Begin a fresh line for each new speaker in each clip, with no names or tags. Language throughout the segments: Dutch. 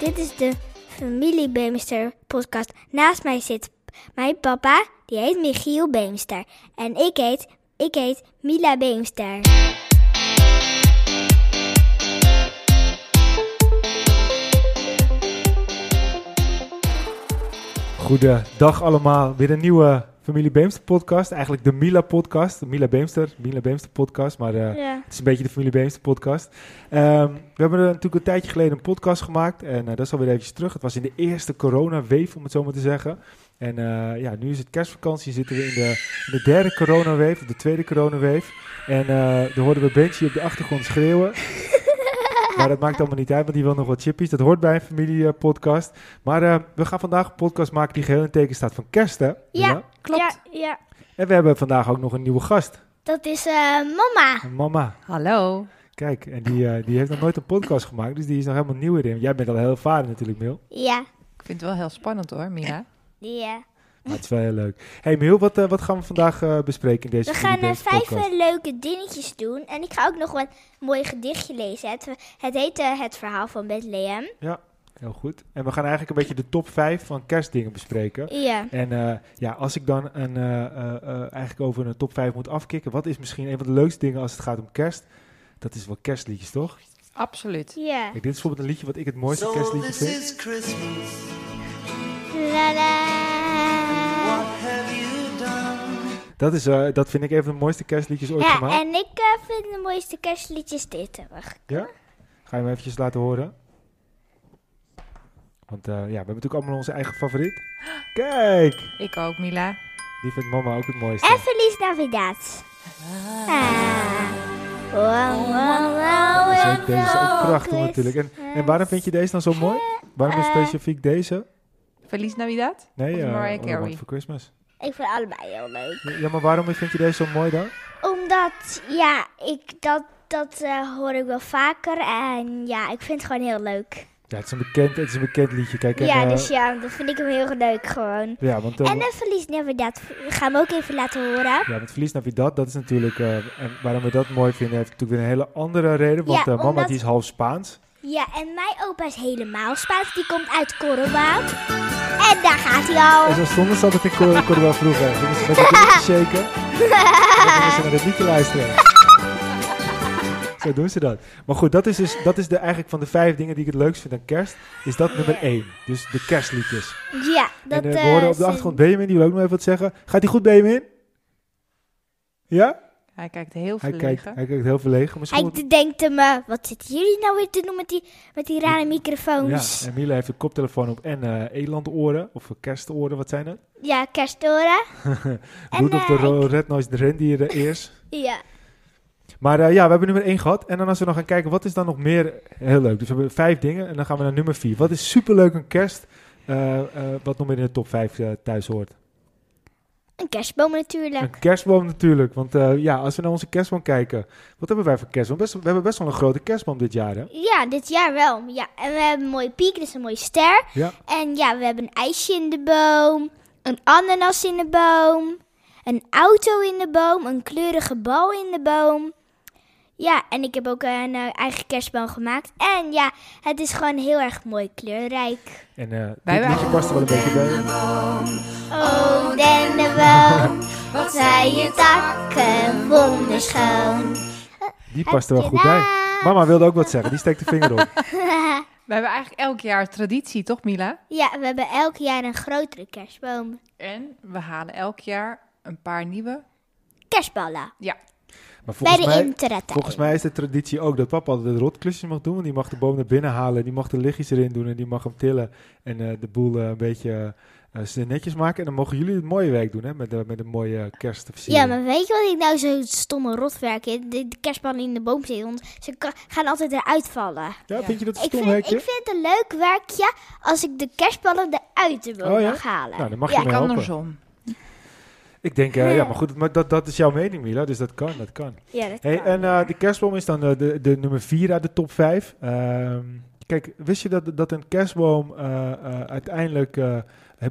is de Familie Beemster podcast. Naast mij zit mijn papa, die heet Michiel Beemster. En ik heet, ik heet Mila Beemster.
Goedendag allemaal. Weer een nieuwe Familie Beemster podcast. Eigenlijk de Mila podcast. De Mila Beemster. Mila Beemster podcast. Maar eh,
Ja.
het is een beetje de Familie Beemster podcast. Ehm, we hebben er natuurlijk een tijdje geleden een podcast gemaakt. En eh, dat is alweer eventjes terug. Het was in de eerste coronaweef, om het zo maar te zeggen. En eh, ja, nu is het kerstvakantie. Zitten we in de, in de derde coronaweef. Of de tweede coronaweef. En eh dan hoorden we Benji op de achtergrond schreeuwen. Maar dat maakt allemaal niet uit, want die wil nog wat chippies. Dat hoort bij een familiepodcast. Maar eh, we gaan vandaag een podcast maken die geheel in het teken staat van kerst, hè? Mila?
klopt. Ja, ja.
En we hebben vandaag ook nog een nieuwe gast,
Dat is eh, mama.
een mama.
Hallo.
Kijk, en die, eh, die heeft nog nooit een podcast gemaakt, dus die is nog helemaal nieuw erin. Jij bent al heel ervaren natuurlijk, Mil.
Ja. eh,
Ik vind het wel heel spannend hoor, Mira.
Ja.
Maar het is wel heel leuk. hey, Mil, wat, eh, wat gaan we vandaag eh, bespreken in deze
We gaan eh,
Familiebeest
vijf
podcast?
eh, leuke dingetjes doen. En ik ga ook nog wat mooi gedichtje lezen. Het, het heet eh, Het verhaal van Bethlehem.
Heel goed. En we gaan eigenlijk een beetje de top vijf van kerstdingen bespreken.
Ja.
En eh, ja, als ik dan een, eh, eh, eh, eigenlijk over een top 5 moet afkicken, wat is misschien een van de leukste dingen als het gaat om kerst? Dat is wel kerstliedjes, toch?
Absoluut.
Ja.
Kijk, dit is bijvoorbeeld een liedje wat ik het mooiste
So
kerstliedje
this
vind.
is Christmas.
La, la.
What have you done?
Dat, is, eh, dat vind ik een van de mooiste kerstliedjes ooit
Ja,
gemaakt.
en ik eh, vind de mooiste kerstliedjes dit. hoor.
Ja? Ga je hem eventjes laten horen? Want eh, ja, we hebben natuurlijk allemaal onze eigen favoriet. Kijk!
Ik ook, Mila.
Die vindt mama ook het mooiste.
En Feliz Navidad. Ah. Oh, Wow, wow, wow,
Dus
wow,
ook deze is ook
wow,
prachtig
Chris. eh,
natuurlijk. En, en waarom vind je deze dan zo mooi? Waarom is specifiek deze?
Feliz Navidad.
Nee,
Of
eh,
Mariah
All I Want
Carey.
for Christmas.
Ik vind allebei heel leuk.
Ja, maar waarom vind je deze zo mooi dan?
Omdat, ja, ik, dat, dat eh, hoor ik wel vaker. En ja, ik vind het gewoon heel leuk.
Ja, het is een bekend, het is een bekend liedje. Kijk, en,
Ja,
eh,
dus ja, dan vind ik hem heel leuk gewoon.
ja, want, eh,
En uh, Feliz Navidad gaan we ook even laten horen.
ja, met Verlies Navidad, dat is natuurlijk... eh, en waarom we dat mooi vinden, heeft natuurlijk weer een hele andere reden. Want
Ja,
eh, mama
omdat-
die is half Spaans.
Ja, en mijn opa is helemaal Spaans. Die komt uit Córdoba. En daar gaat hij al.
En zo stonden ze altijd in Cor- Córdoba vroeger. Dan gingen ze met de ding te shaken. En dan gingen ze naar dat liedje luisteren. Zo doen ze dat. Maar goed, dat is, dus, dat is de, eigenlijk van de vijf dingen die ik het leukst vind aan kerst, is dat nummer één. Dus de kerstliedjes.
Ja, dat
en eh,
eh,
we hoorden op
is
de
een-
achtergrond Benjamin, die wil ook nog even wat zeggen. Gaat die goed, Benjamin? Ja?
Hij kijkt heel
Hij kijkt,
verlegen.
hij kijkt heel verlegen. Misschien
Hij
moet-
d- denkt me, wat zitten jullie nou weer te doen met die, met die rare microfoons?
Ja,
Ja,
en Mila heeft een koptelefoor op en eh, elandoren, of kerstoren, wat zijn dat?
kerstoren. En,
Rudolf de
eh,
Ro- Red Nose Reindeer eh, eerst.
Ja.
Maar eh, ja, we hebben nummer 1 gehad. En dan als we nog gaan kijken, wat is dan nog meer heel leuk? Dus we hebben vijf dingen en dan gaan we naar nummer 4. Wat is superleuk een kerst, eh, eh, wat nog meer in de top 5 thuis hoort?
Een kerstboom natuurlijk.
Een kerstboom natuurlijk, want eh, ja, als we naar onze kerstboom kijken, wat hebben wij voor kerstboom? Best, we hebben best wel een grote kerstboom dit jaar, hè?
Ja, dit jaar wel. Ja, en we hebben een mooie piek, dus een mooie ster.
Ja.
En ja, we hebben een ijsje in de boom, een ananas in de boom, een auto in de boom, een kleurige bal in de boom. Ja, en ik heb ook een eh, eigen kerstboom gemaakt. En ja, het is gewoon heel erg mooi kleurrijk.
En eh
Wij
dit liedje
waren-
past er wel een beetje bij.
Oh, dennenboom, wat zijn je takken wonderschoon.
Die past er wel goed bij.
nou-
Mama wilde ook wat zeggen, die steekt de vinger op.
We hebben eigenlijk elk jaar traditie, toch Mila?
Ja, we hebben elk jaar een grotere kerstboom.
En we halen elk jaar een paar nieuwe.
Kerstballen.
Ja,
Bij
Maar volgens
de
mij,
internet.
volgens mij is de traditie ook dat papa altijd de rotklusjes mag doen. Want die mag de boom naar binnen halen, die mag de lichtjes erin doen en die mag hem tillen. En eh, de boel eh, een beetje eh, ze netjes maken. En dan mogen jullie het mooie werk doen, hè? Met, de- met een mooie
Ja,
kerstversiering.
maar weet je wat ik nou zo stomme rotwerk in? De, de kerstballen in de boom zitten, want ze ka- gaan altijd eruit vallen.
Ja,
Ja.
vind je dat
Ik
stom
vind, ik
werkje?
vind het een leuk werkje als ik de kerstballen eruit de boom
Oh ja?
mag halen.
Nou, dan mag je
ja,
mee
ik
helpen.
andersom.
Ik denk, eh, ja, maar goed, maar dat, dat is jouw mening, Mila. Dus dat kan, dat kan.
ja, dat
Hey,
kan.
en eh, de kerstboom is dan eh, de, de nummer 4 uit de top 5. kijk, wist je dat, dat een kerstboom eh, eh, uiteindelijk eh,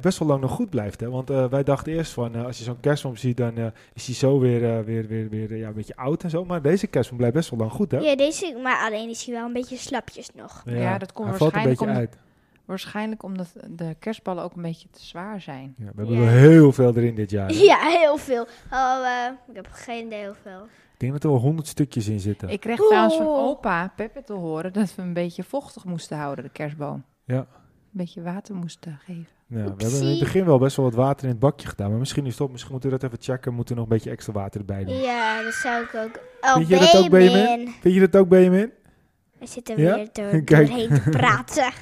best wel lang nog goed blijft? Hè? Want eh, wij dachten eerst van, eh, als je zo'n kerstboom ziet, dan eh, is hij zo weer, eh, weer, weer, weer eh, ja, een beetje oud en zo. Maar deze kerstboom blijft best wel lang goed, hè?
ja, deze, maar alleen is hij wel een beetje slapjes nog.
Ja, dat komt
hij
waarschijnlijk
valt een beetje uit.
Waarschijnlijk omdat de kerstballen ook een beetje te zwaar zijn.
Ja, we hebben
Ja.
wel heel veel erin dit jaar.
Ja, heel veel. Oh, eh, ik heb geen idee hoeveel.
Ik denk dat er wel honderd stukjes in zitten.
Ik kreeg trouwens van
Oeh.
opa Peppe te horen dat we een beetje vochtig moesten houden, de kerstboom.
Ja.
Een beetje water moesten geven.
Ja, we hebben in het
Oepsie.
begin wel best wel wat water in het bakje gedaan. Maar misschien is het op. Misschien moeten we dat even checken. Moeten we nog een beetje extra water erbij doen.
Ja, dat zou ik ook. Oh,
Vind je dat ook, Benjamin?
Benjamin.
Vind je dat ook, Benjamin?
We zitten
Ja?
weer door,
Kijk.
doorheen te praten.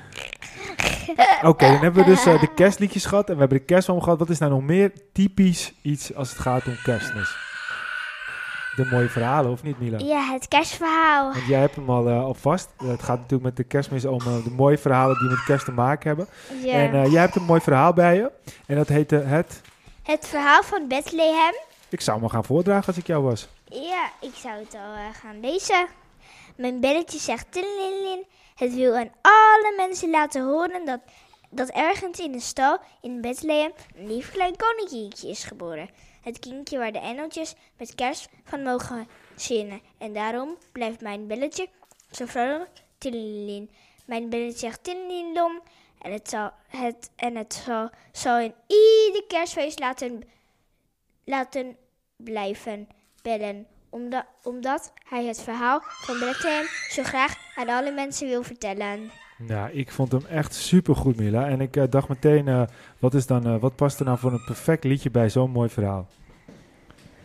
Oké, dan hebben we dus eh, de kerstliedjes gehad. En we hebben de kerstboom gehad. Wat is nou nog meer typisch iets als het gaat om kerstmis? De mooie verhalen, of niet, Mila?
Ja, het kerstverhaal.
Want jij hebt hem al, eh, al vast. Eh, het gaat natuurlijk met de kerstmis om eh, de mooie verhalen die met kerst te maken hebben.
Ja.
En eh, jij hebt een mooi verhaal bij je. En dat heette het...
Het verhaal van Bethlehem.
Ik zou hem al gaan voordragen als ik jou was.
Ja, ik zou het al eh, gaan lezen. Mijn belletje zegt tindelin. Het wil aan alle mensen laten horen dat, dat ergens in een stal in Bethlehem een lief klein koninkje is geboren. Het kindje waar de engeltjes met kerst van mogen zingen. En daarom blijft mijn belletje zo vrolijk tindelin. Mijn belletje zegt tindelin en het zal, het, en het zal, zal in ieder kerstfeest laten, laten blijven bellen. Omdat, omdat hij het verhaal van Bethlehem zo graag aan alle mensen wil vertellen.
Nou, ik vond hem echt supergoed, Mila. En ik eh, dacht meteen, eh, wat, is dan, eh, wat past er nou voor een perfect liedje bij zo'n mooi verhaal?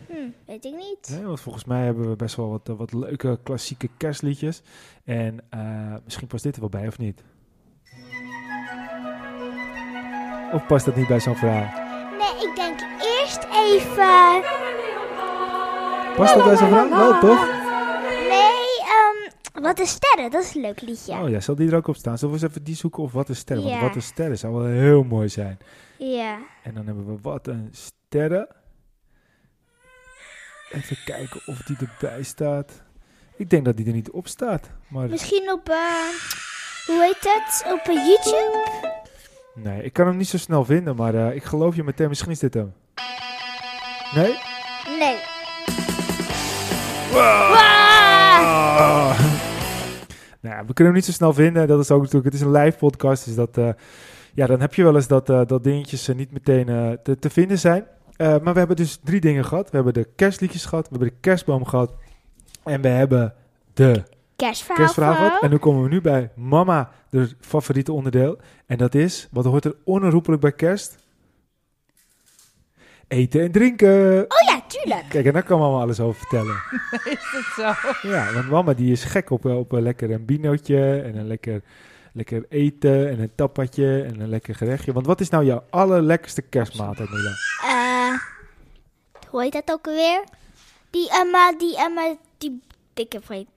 Hm, weet ik niet.
Nee, want volgens mij hebben we best wel wat, eh, wat leuke klassieke kerstliedjes. En eh, misschien past dit er wel bij, of niet? Of past dat niet bij zo'n verhaal?
Nee, ik denk eerst even.
Past dat bij zo'n verhaal? Wel, toch?
Nee, ehm, wat de sterren, dat is een leuk liedje.
Oh ja, zal die er ook op staan? Zullen we eens even die zoeken of wat een sterren?
Ja.
Want wat een sterren zou wel heel mooi zijn.
Ja.
En dan hebben we wat een sterren. Even kijken of die erbij staat. Ik denk dat die er niet op staat. Maar
Misschien op, eh, hoe heet het? Op eh, YouTube?
nee, ik kan hem niet zo snel vinden. Maar eh, ik geloof je meteen. Misschien is dit hem. Nee?
Nee. Wow.
Ah. Nou, ja, we kunnen hem niet zo snel vinden. Dat is ook natuurlijk. Het is een live podcast. Dus dat. eh, ja, dan heb je wel eens dat, eh, dat dingetjes eh, niet meteen eh, te, te vinden zijn. Eh, maar we hebben dus drie dingen gehad. We hebben de kerstliedjes gehad. We hebben de kerstboom gehad. En we hebben de
Kerstverhaal.
kerstverhaal gehad.
van-
En nu komen we nu bij mama, de favoriete onderdeel. En dat is, wat hoort er onherroepelijk bij kerst? Eten en drinken.
Oh ja, tuurlijk.
Kijk, en daar kan mama alles over vertellen.
Is dat zo?
Ja, want mama die is gek op, op een lekker een binootje en een lekker, lekker eten en een tappatje en een lekker gerechtje. Want wat is nou jouw allerlekkerste kerstmaaltijd, Mila?
Eh, hoe heet dat ook alweer? Die Emma, die Emma, die dikke vriend.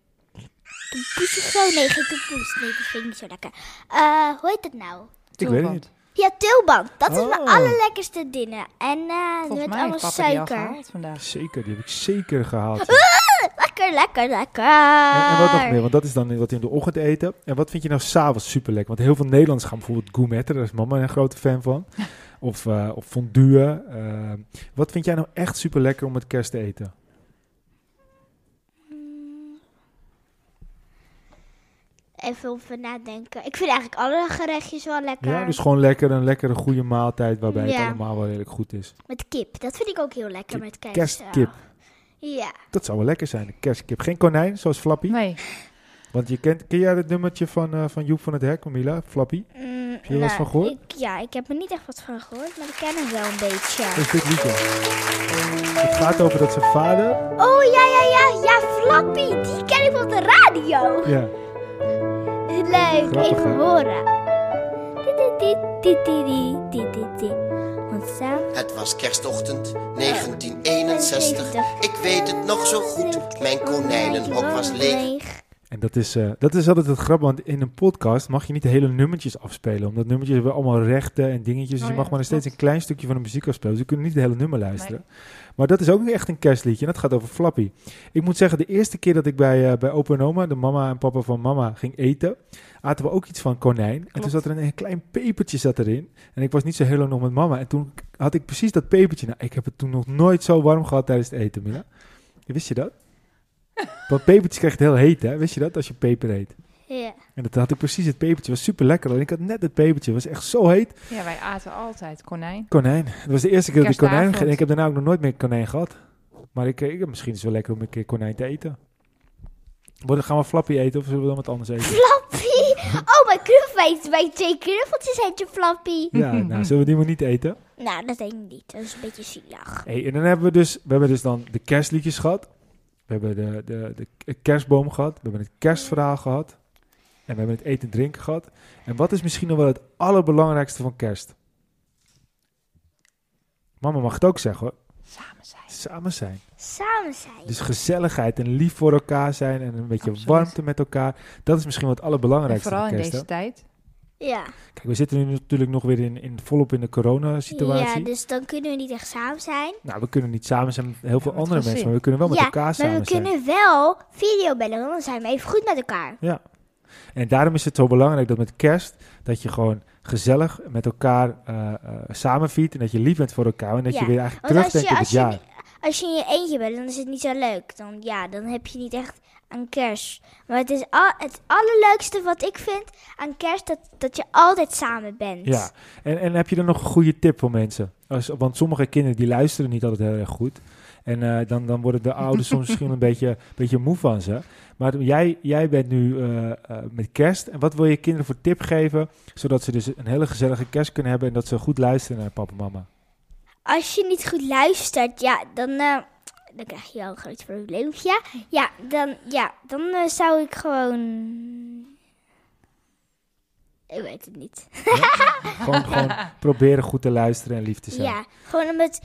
De poes of zo? Nee, geen toepoes. Nee, die vind ik niet zo lekker. Eh, hoe heet dat nou?
Ik weet het
Tulband.
niet.
Ja, tulband. Dat is mijn
Oh.
allerlekkerste diner. En eh
Volgens
met
mij heeft
allemaal
papa die al
suiker.
gehaald vandaag.
Zeker, die heb ik zeker gehaald.
Lekker, lekker, lekker.
En, en wat nog meer, want dat is dan wat we in de ochtend eten. En wat vind je nou s'avonds super lekker? Want heel veel Nederlanders gaan bijvoorbeeld gourmetten, daar is mama een grote fan van. Of, eh, of fondue. eh. wat vind jij nou echt super lekker om met kerst te eten?
Even over nadenken. Ik vind eigenlijk alle gerechtjes wel lekker.
Ja, dus gewoon lekker een lekkere goede maaltijd waarbij het
Ja.
allemaal wel redelijk goed is.
Met kip. Dat vind ik ook heel lekker met kerst.
Kerstkip.
Ja.
Dat zou wel lekker zijn, een kerstkip. Geen konijn, zoals Flappy.
Nee,
Want je kent, ken jij het nummertje van, eh, van Joep van het Hek, Camilla? Flappy?
Mm,
je er wel eens van gehoord?
Ik, ja, ik heb er niet echt wat van gehoord, maar ik ken hem wel een
Dat
beetje.
is dit liedje. Het gaat over dat zijn vader...
Oh ja, ja, ja, ja, Flappy, die ken ik op de radio.
Ja,
Leuk,
Grappig,
even
hè?
horen. Dit, dit, dit, dit, dit, dit, dit, dit, dit. Want samen
Het was kerstochtend 1961. Ik weet het nog zo goed. Mijn konijnenhok was leeg.
en dat is, eh, dat is altijd het grap, want in een podcast mag je niet de hele nummertjes afspelen. Omdat nummertjes hebben allemaal rechten en dingetjes. dus
Oh
je
ja,
mag maar
dat
steeds een
klopt.
klein stukje van de muziek afspelen. Dus we kunnen niet het hele nummer luisteren. Maar dat is ook echt een kerstliedje en dat gaat over Flappy. Ik moet zeggen, de eerste keer dat ik bij, eh bij opa en oma, de mama en papa van mama, ging eten... aten we ook iets van konijn. En toen
Klopt.
zat er een, een klein pepertje zat erin. En ik was niet zo heel lang nog met mama. En toen had ik precies dat pepertje. Nou, ik heb het toen nog nooit zo warm gehad tijdens het eten, Mila. Wist je dat? Want pepertjes krijg je het heel heet, hè? Wist je dat, als je peper eet?
Ja.
En dat had ik precies het pepertje. was super lekker. En ik had net het pepertje. was echt zo heet.
Ja, wij aten altijd konijn.
Konijn. Dat was de eerste keer dat ik konijn
Kerstavond.
En ik heb daarna ook nog nooit meer konijn gehad. Maar ik, ik, misschien is het wel lekker om een keer konijn te eten. Worden, gaan we flappy eten of zullen we dan wat anders eten?
Flappy! Oh, mijn knuffel bij twee knuffeltjes heet je Flappy.
ja, nou, zullen we die maar niet eten?
Nou, dat denk ik niet. Dat is een beetje zielig.
Hey, en dan hebben we dus, we hebben dus dan de kerstliedjes gehad. We hebben de, de, de kerstboom gehad. We hebben het kerstverhaal gehad. En we hebben het eten en drinken gehad. En wat is misschien nog wel het allerbelangrijkste van kerst? Mama mag het ook zeggen hoor.
Samen zijn.
Samen zijn.
Samen zijn.
Dus gezelligheid en lief voor elkaar zijn. En een beetje
Absoluut.
warmte met elkaar. Dat is misschien wel het
En
allerbelangrijkste
vooral
van
in
kerst.
deze tijd.
ja.
hè? Kijk, we zitten nu natuurlijk nog weer in, in, volop in de corona-situatie.
Ja, dus dan kunnen we niet echt samen zijn.
Nou, we kunnen niet samen zijn met heel veel
met
andere mensen.
gezin.
Maar we kunnen wel Oh, met
ja,
elkaar
maar
samen
we
zijn.
kunnen wel videobellen, want dan zijn we even goed met elkaar.
Ja. En daarom is het zo belangrijk dat met kerst dat je gewoon gezellig met elkaar eh eh, samenviert en dat je lief bent voor elkaar en dat
Ja,
je weer eigenlijk
Want als je,
terugdenkt op
als,
het
je,
jaar.
niet- als je in je eentje bent, dan is het niet zo leuk. Dan, ja, dan heb je niet echt aan kerst. Maar het is al, het allerleukste wat ik vind aan kerst, dat, dat je altijd samen bent.
Ja. En, en heb je dan nog een goede tip voor mensen? Als, want sommige kinderen die luisteren niet altijd heel erg goed. En eh, dan, dan worden de ouders soms misschien een beetje, beetje moe van ze. Maar jij, jij bent nu eh, eh, met kerst. En wat wil je kinderen voor tip geven? Zodat ze dus een hele gezellige kerst kunnen hebben. En dat ze goed luisteren naar papa en mama.
Als je niet goed luistert, ja, dan, eh, dan krijg je wel een groot probleempje. Ja, dan, ja, dan eh, zou ik gewoon... Ik weet het niet.
Gewoon, gewoon proberen goed te luisteren en lief te zijn.
Ja, gewoon om het...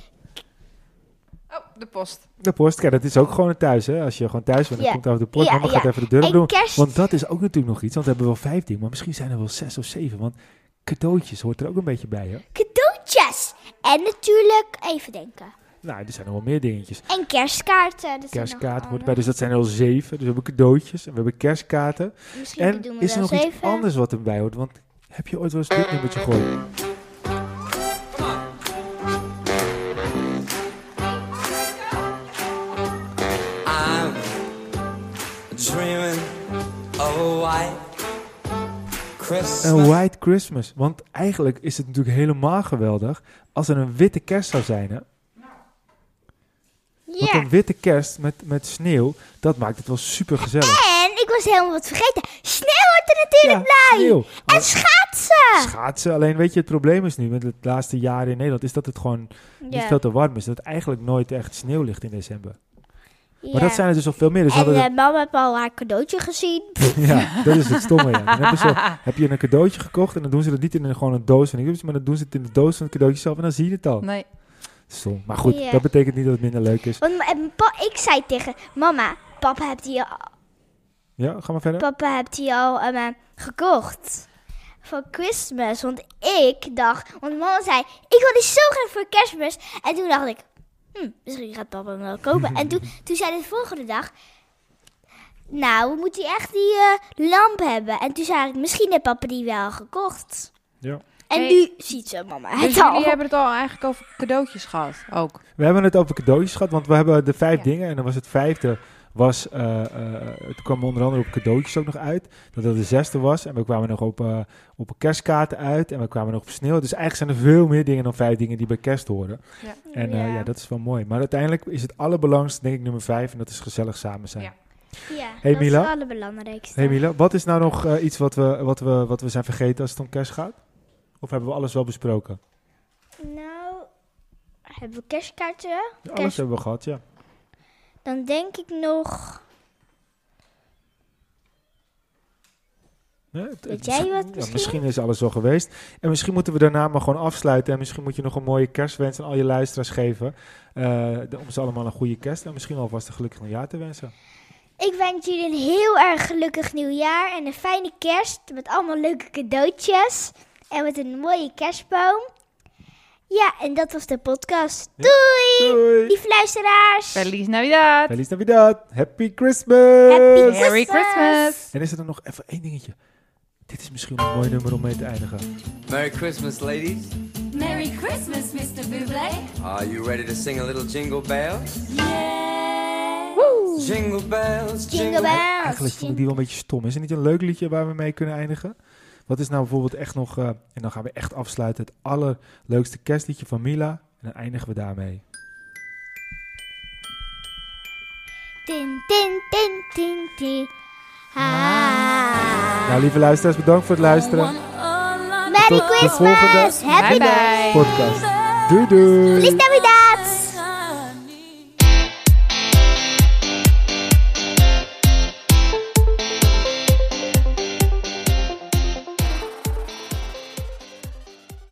Oh, de post.
De post, kijk, dat is ook gewoon een thuis, hè? Als je gewoon thuis bent, dan
Ja.
komt over de post.
Ja,
mama
ja.
gaat even de deur
En
doen.
kerst-
Want dat is ook natuurlijk nog iets, want we hebben wel vijftien, maar misschien zijn er wel zes of zeven. Want cadeautjes hoort er ook een beetje bij, hè?
Cadeautjes! En natuurlijk, even denken.
Nou, er zijn nog wel meer dingetjes.
En kerstkaarten. dat zijn nog
Kerstkaart
wel-
hoort bij, dus dat zijn er al zeven. Dus we hebben cadeautjes en we hebben kerstkaarten.
Misschien doen
En
we
is er
wel
nog iets
zeven.
anders wat erbij hoort? Want heb je ooit wel eens dit nummertje gehoord?
I'm dreaming of a white
Een
Christmas.
White Christmas. Want eigenlijk is het natuurlijk helemaal geweldig als er een witte kerst zou zijn, hè?
Ja.
Want een witte kerst met, met sneeuw, dat maakt het wel super gezellig.
En ik was helemaal wat vergeten. Sneeuw wordt er natuurlijk bij.
sneeuw.
En schaatsen.
Schaatsen, alleen weet je, het probleem is nu met het laatste jaar in Nederland, is dat het gewoon niet
Ja.
veel te warm is. Dat het eigenlijk nooit echt sneeuw ligt in december. Maar
Ja.
dat zijn er dus al veel meer. Dus
en ehm,
hadden
eh, mama heeft al haar cadeautje gezien.
we- ja, dat is het stomme. Ja. Dan hebben ze, heb je een cadeautje gekocht en dan doen ze dat niet in een, gewoon een doos van iets, maar dan doen ze het in de doos van het cadeautje zelf en dan zie je het al.
Nee.
Stom. Maar goed,
Nou. Ja.
dat betekent niet dat het minder leuk is.
Want m- en pa- ik zei tegen mama, papa hebt die al,
Ja, ga maar verder.
papa hebt die al ehm, eh, gekocht. Voor Christmas. Want ik dacht, want mama zei, ik wil die zo graag voor kerstmis. En toen dacht ik, hm, misschien gaat papa hem wel kopen. en toen, toen zei de volgende dag, nou, we moeten echt die eh, lamp hebben. En toen zei ik, misschien heeft papa die wel gekocht.
Ja.
En
Hey.
nu ziet ze mama het
Dus
al.
jullie hebben het al eigenlijk over cadeautjes gehad. Ook.
We hebben het over cadeautjes gehad, want we hebben de vijf
Ja.
dingen. En dan was het vijfde, was, eh, eh, het kwam onder andere op cadeautjes ook nog uit. Dat dat de zesde was. En we kwamen nog op, eh, op kerstkaarten uit. En we kwamen nog op sneeuw. Dus eigenlijk zijn er veel meer dingen dan vijf dingen die bij kerst horen.
Ja.
En eh,
Ja.
ja, dat is wel mooi. Maar uiteindelijk is het allerbelangrijkste, denk ik, nummer vijf. En dat is gezellig samen zijn.
Ja.
Ja,
Hey,
dat
Mila.
is het allerbelangrijkste.
Hey Mila, wat is nou nog eh, iets wat we, wat, we, wat we zijn vergeten als het om kerst gaat? Of hebben we alles wel besproken?
Nou, hebben we kerstkaarten?
Alles
Kerst-
hebben we gehad, ja.
Dan denk ik nog...
Ja, het-
Weet
het-
jij wat
ja,
misschien?
misschien is alles al geweest. En misschien moeten we daarna maar gewoon afsluiten. En misschien moet je nog een mooie kerstwens aan al je luisteraars geven. eh, de- om ze allemaal een goede kerst en misschien alvast een gelukkig nieuwjaar te wensen.
Ik wens jullie een heel erg gelukkig nieuwjaar en een fijne kerst met allemaal leuke cadeautjes. En met een mooie kerstboom. Ja, en dat was de podcast.
Ja.
Doei!
Doei!
Lieve luisteraars!
Feliz Navidad.
Feliz Navidad! Happy Christmas!
Happy
Merry Christmas.
En is er dan nog even één dingetje? Dit is misschien een mooi nummer om mee te
Oh,
eindigen.
Merry Christmas, ladies.
Merry Christmas, Mr. Buble.
Are you ready to sing a little jingle bells?
Yes.
Woe! Oeh,
Jingle bells,
jingle bells.
Eigenlijk vond ik die wel een beetje stom. Is er niet een leuk liedje waar we mee kunnen eindigen? Wat is nou bijvoorbeeld echt nog, eh, en dan gaan we echt afsluiten, het allerleukste kerstliedje van Mila. En dan eindigen we daarmee.
Tin, tin, tin, tin, tin. Ha.
Nou, lieve luisteraars, bedankt voor het luisteren.
Merry
Tot de volgende
Christmas. Happy
Bye
New Year.
bye.
Podcast. Doei doei!
Feliz Navidad.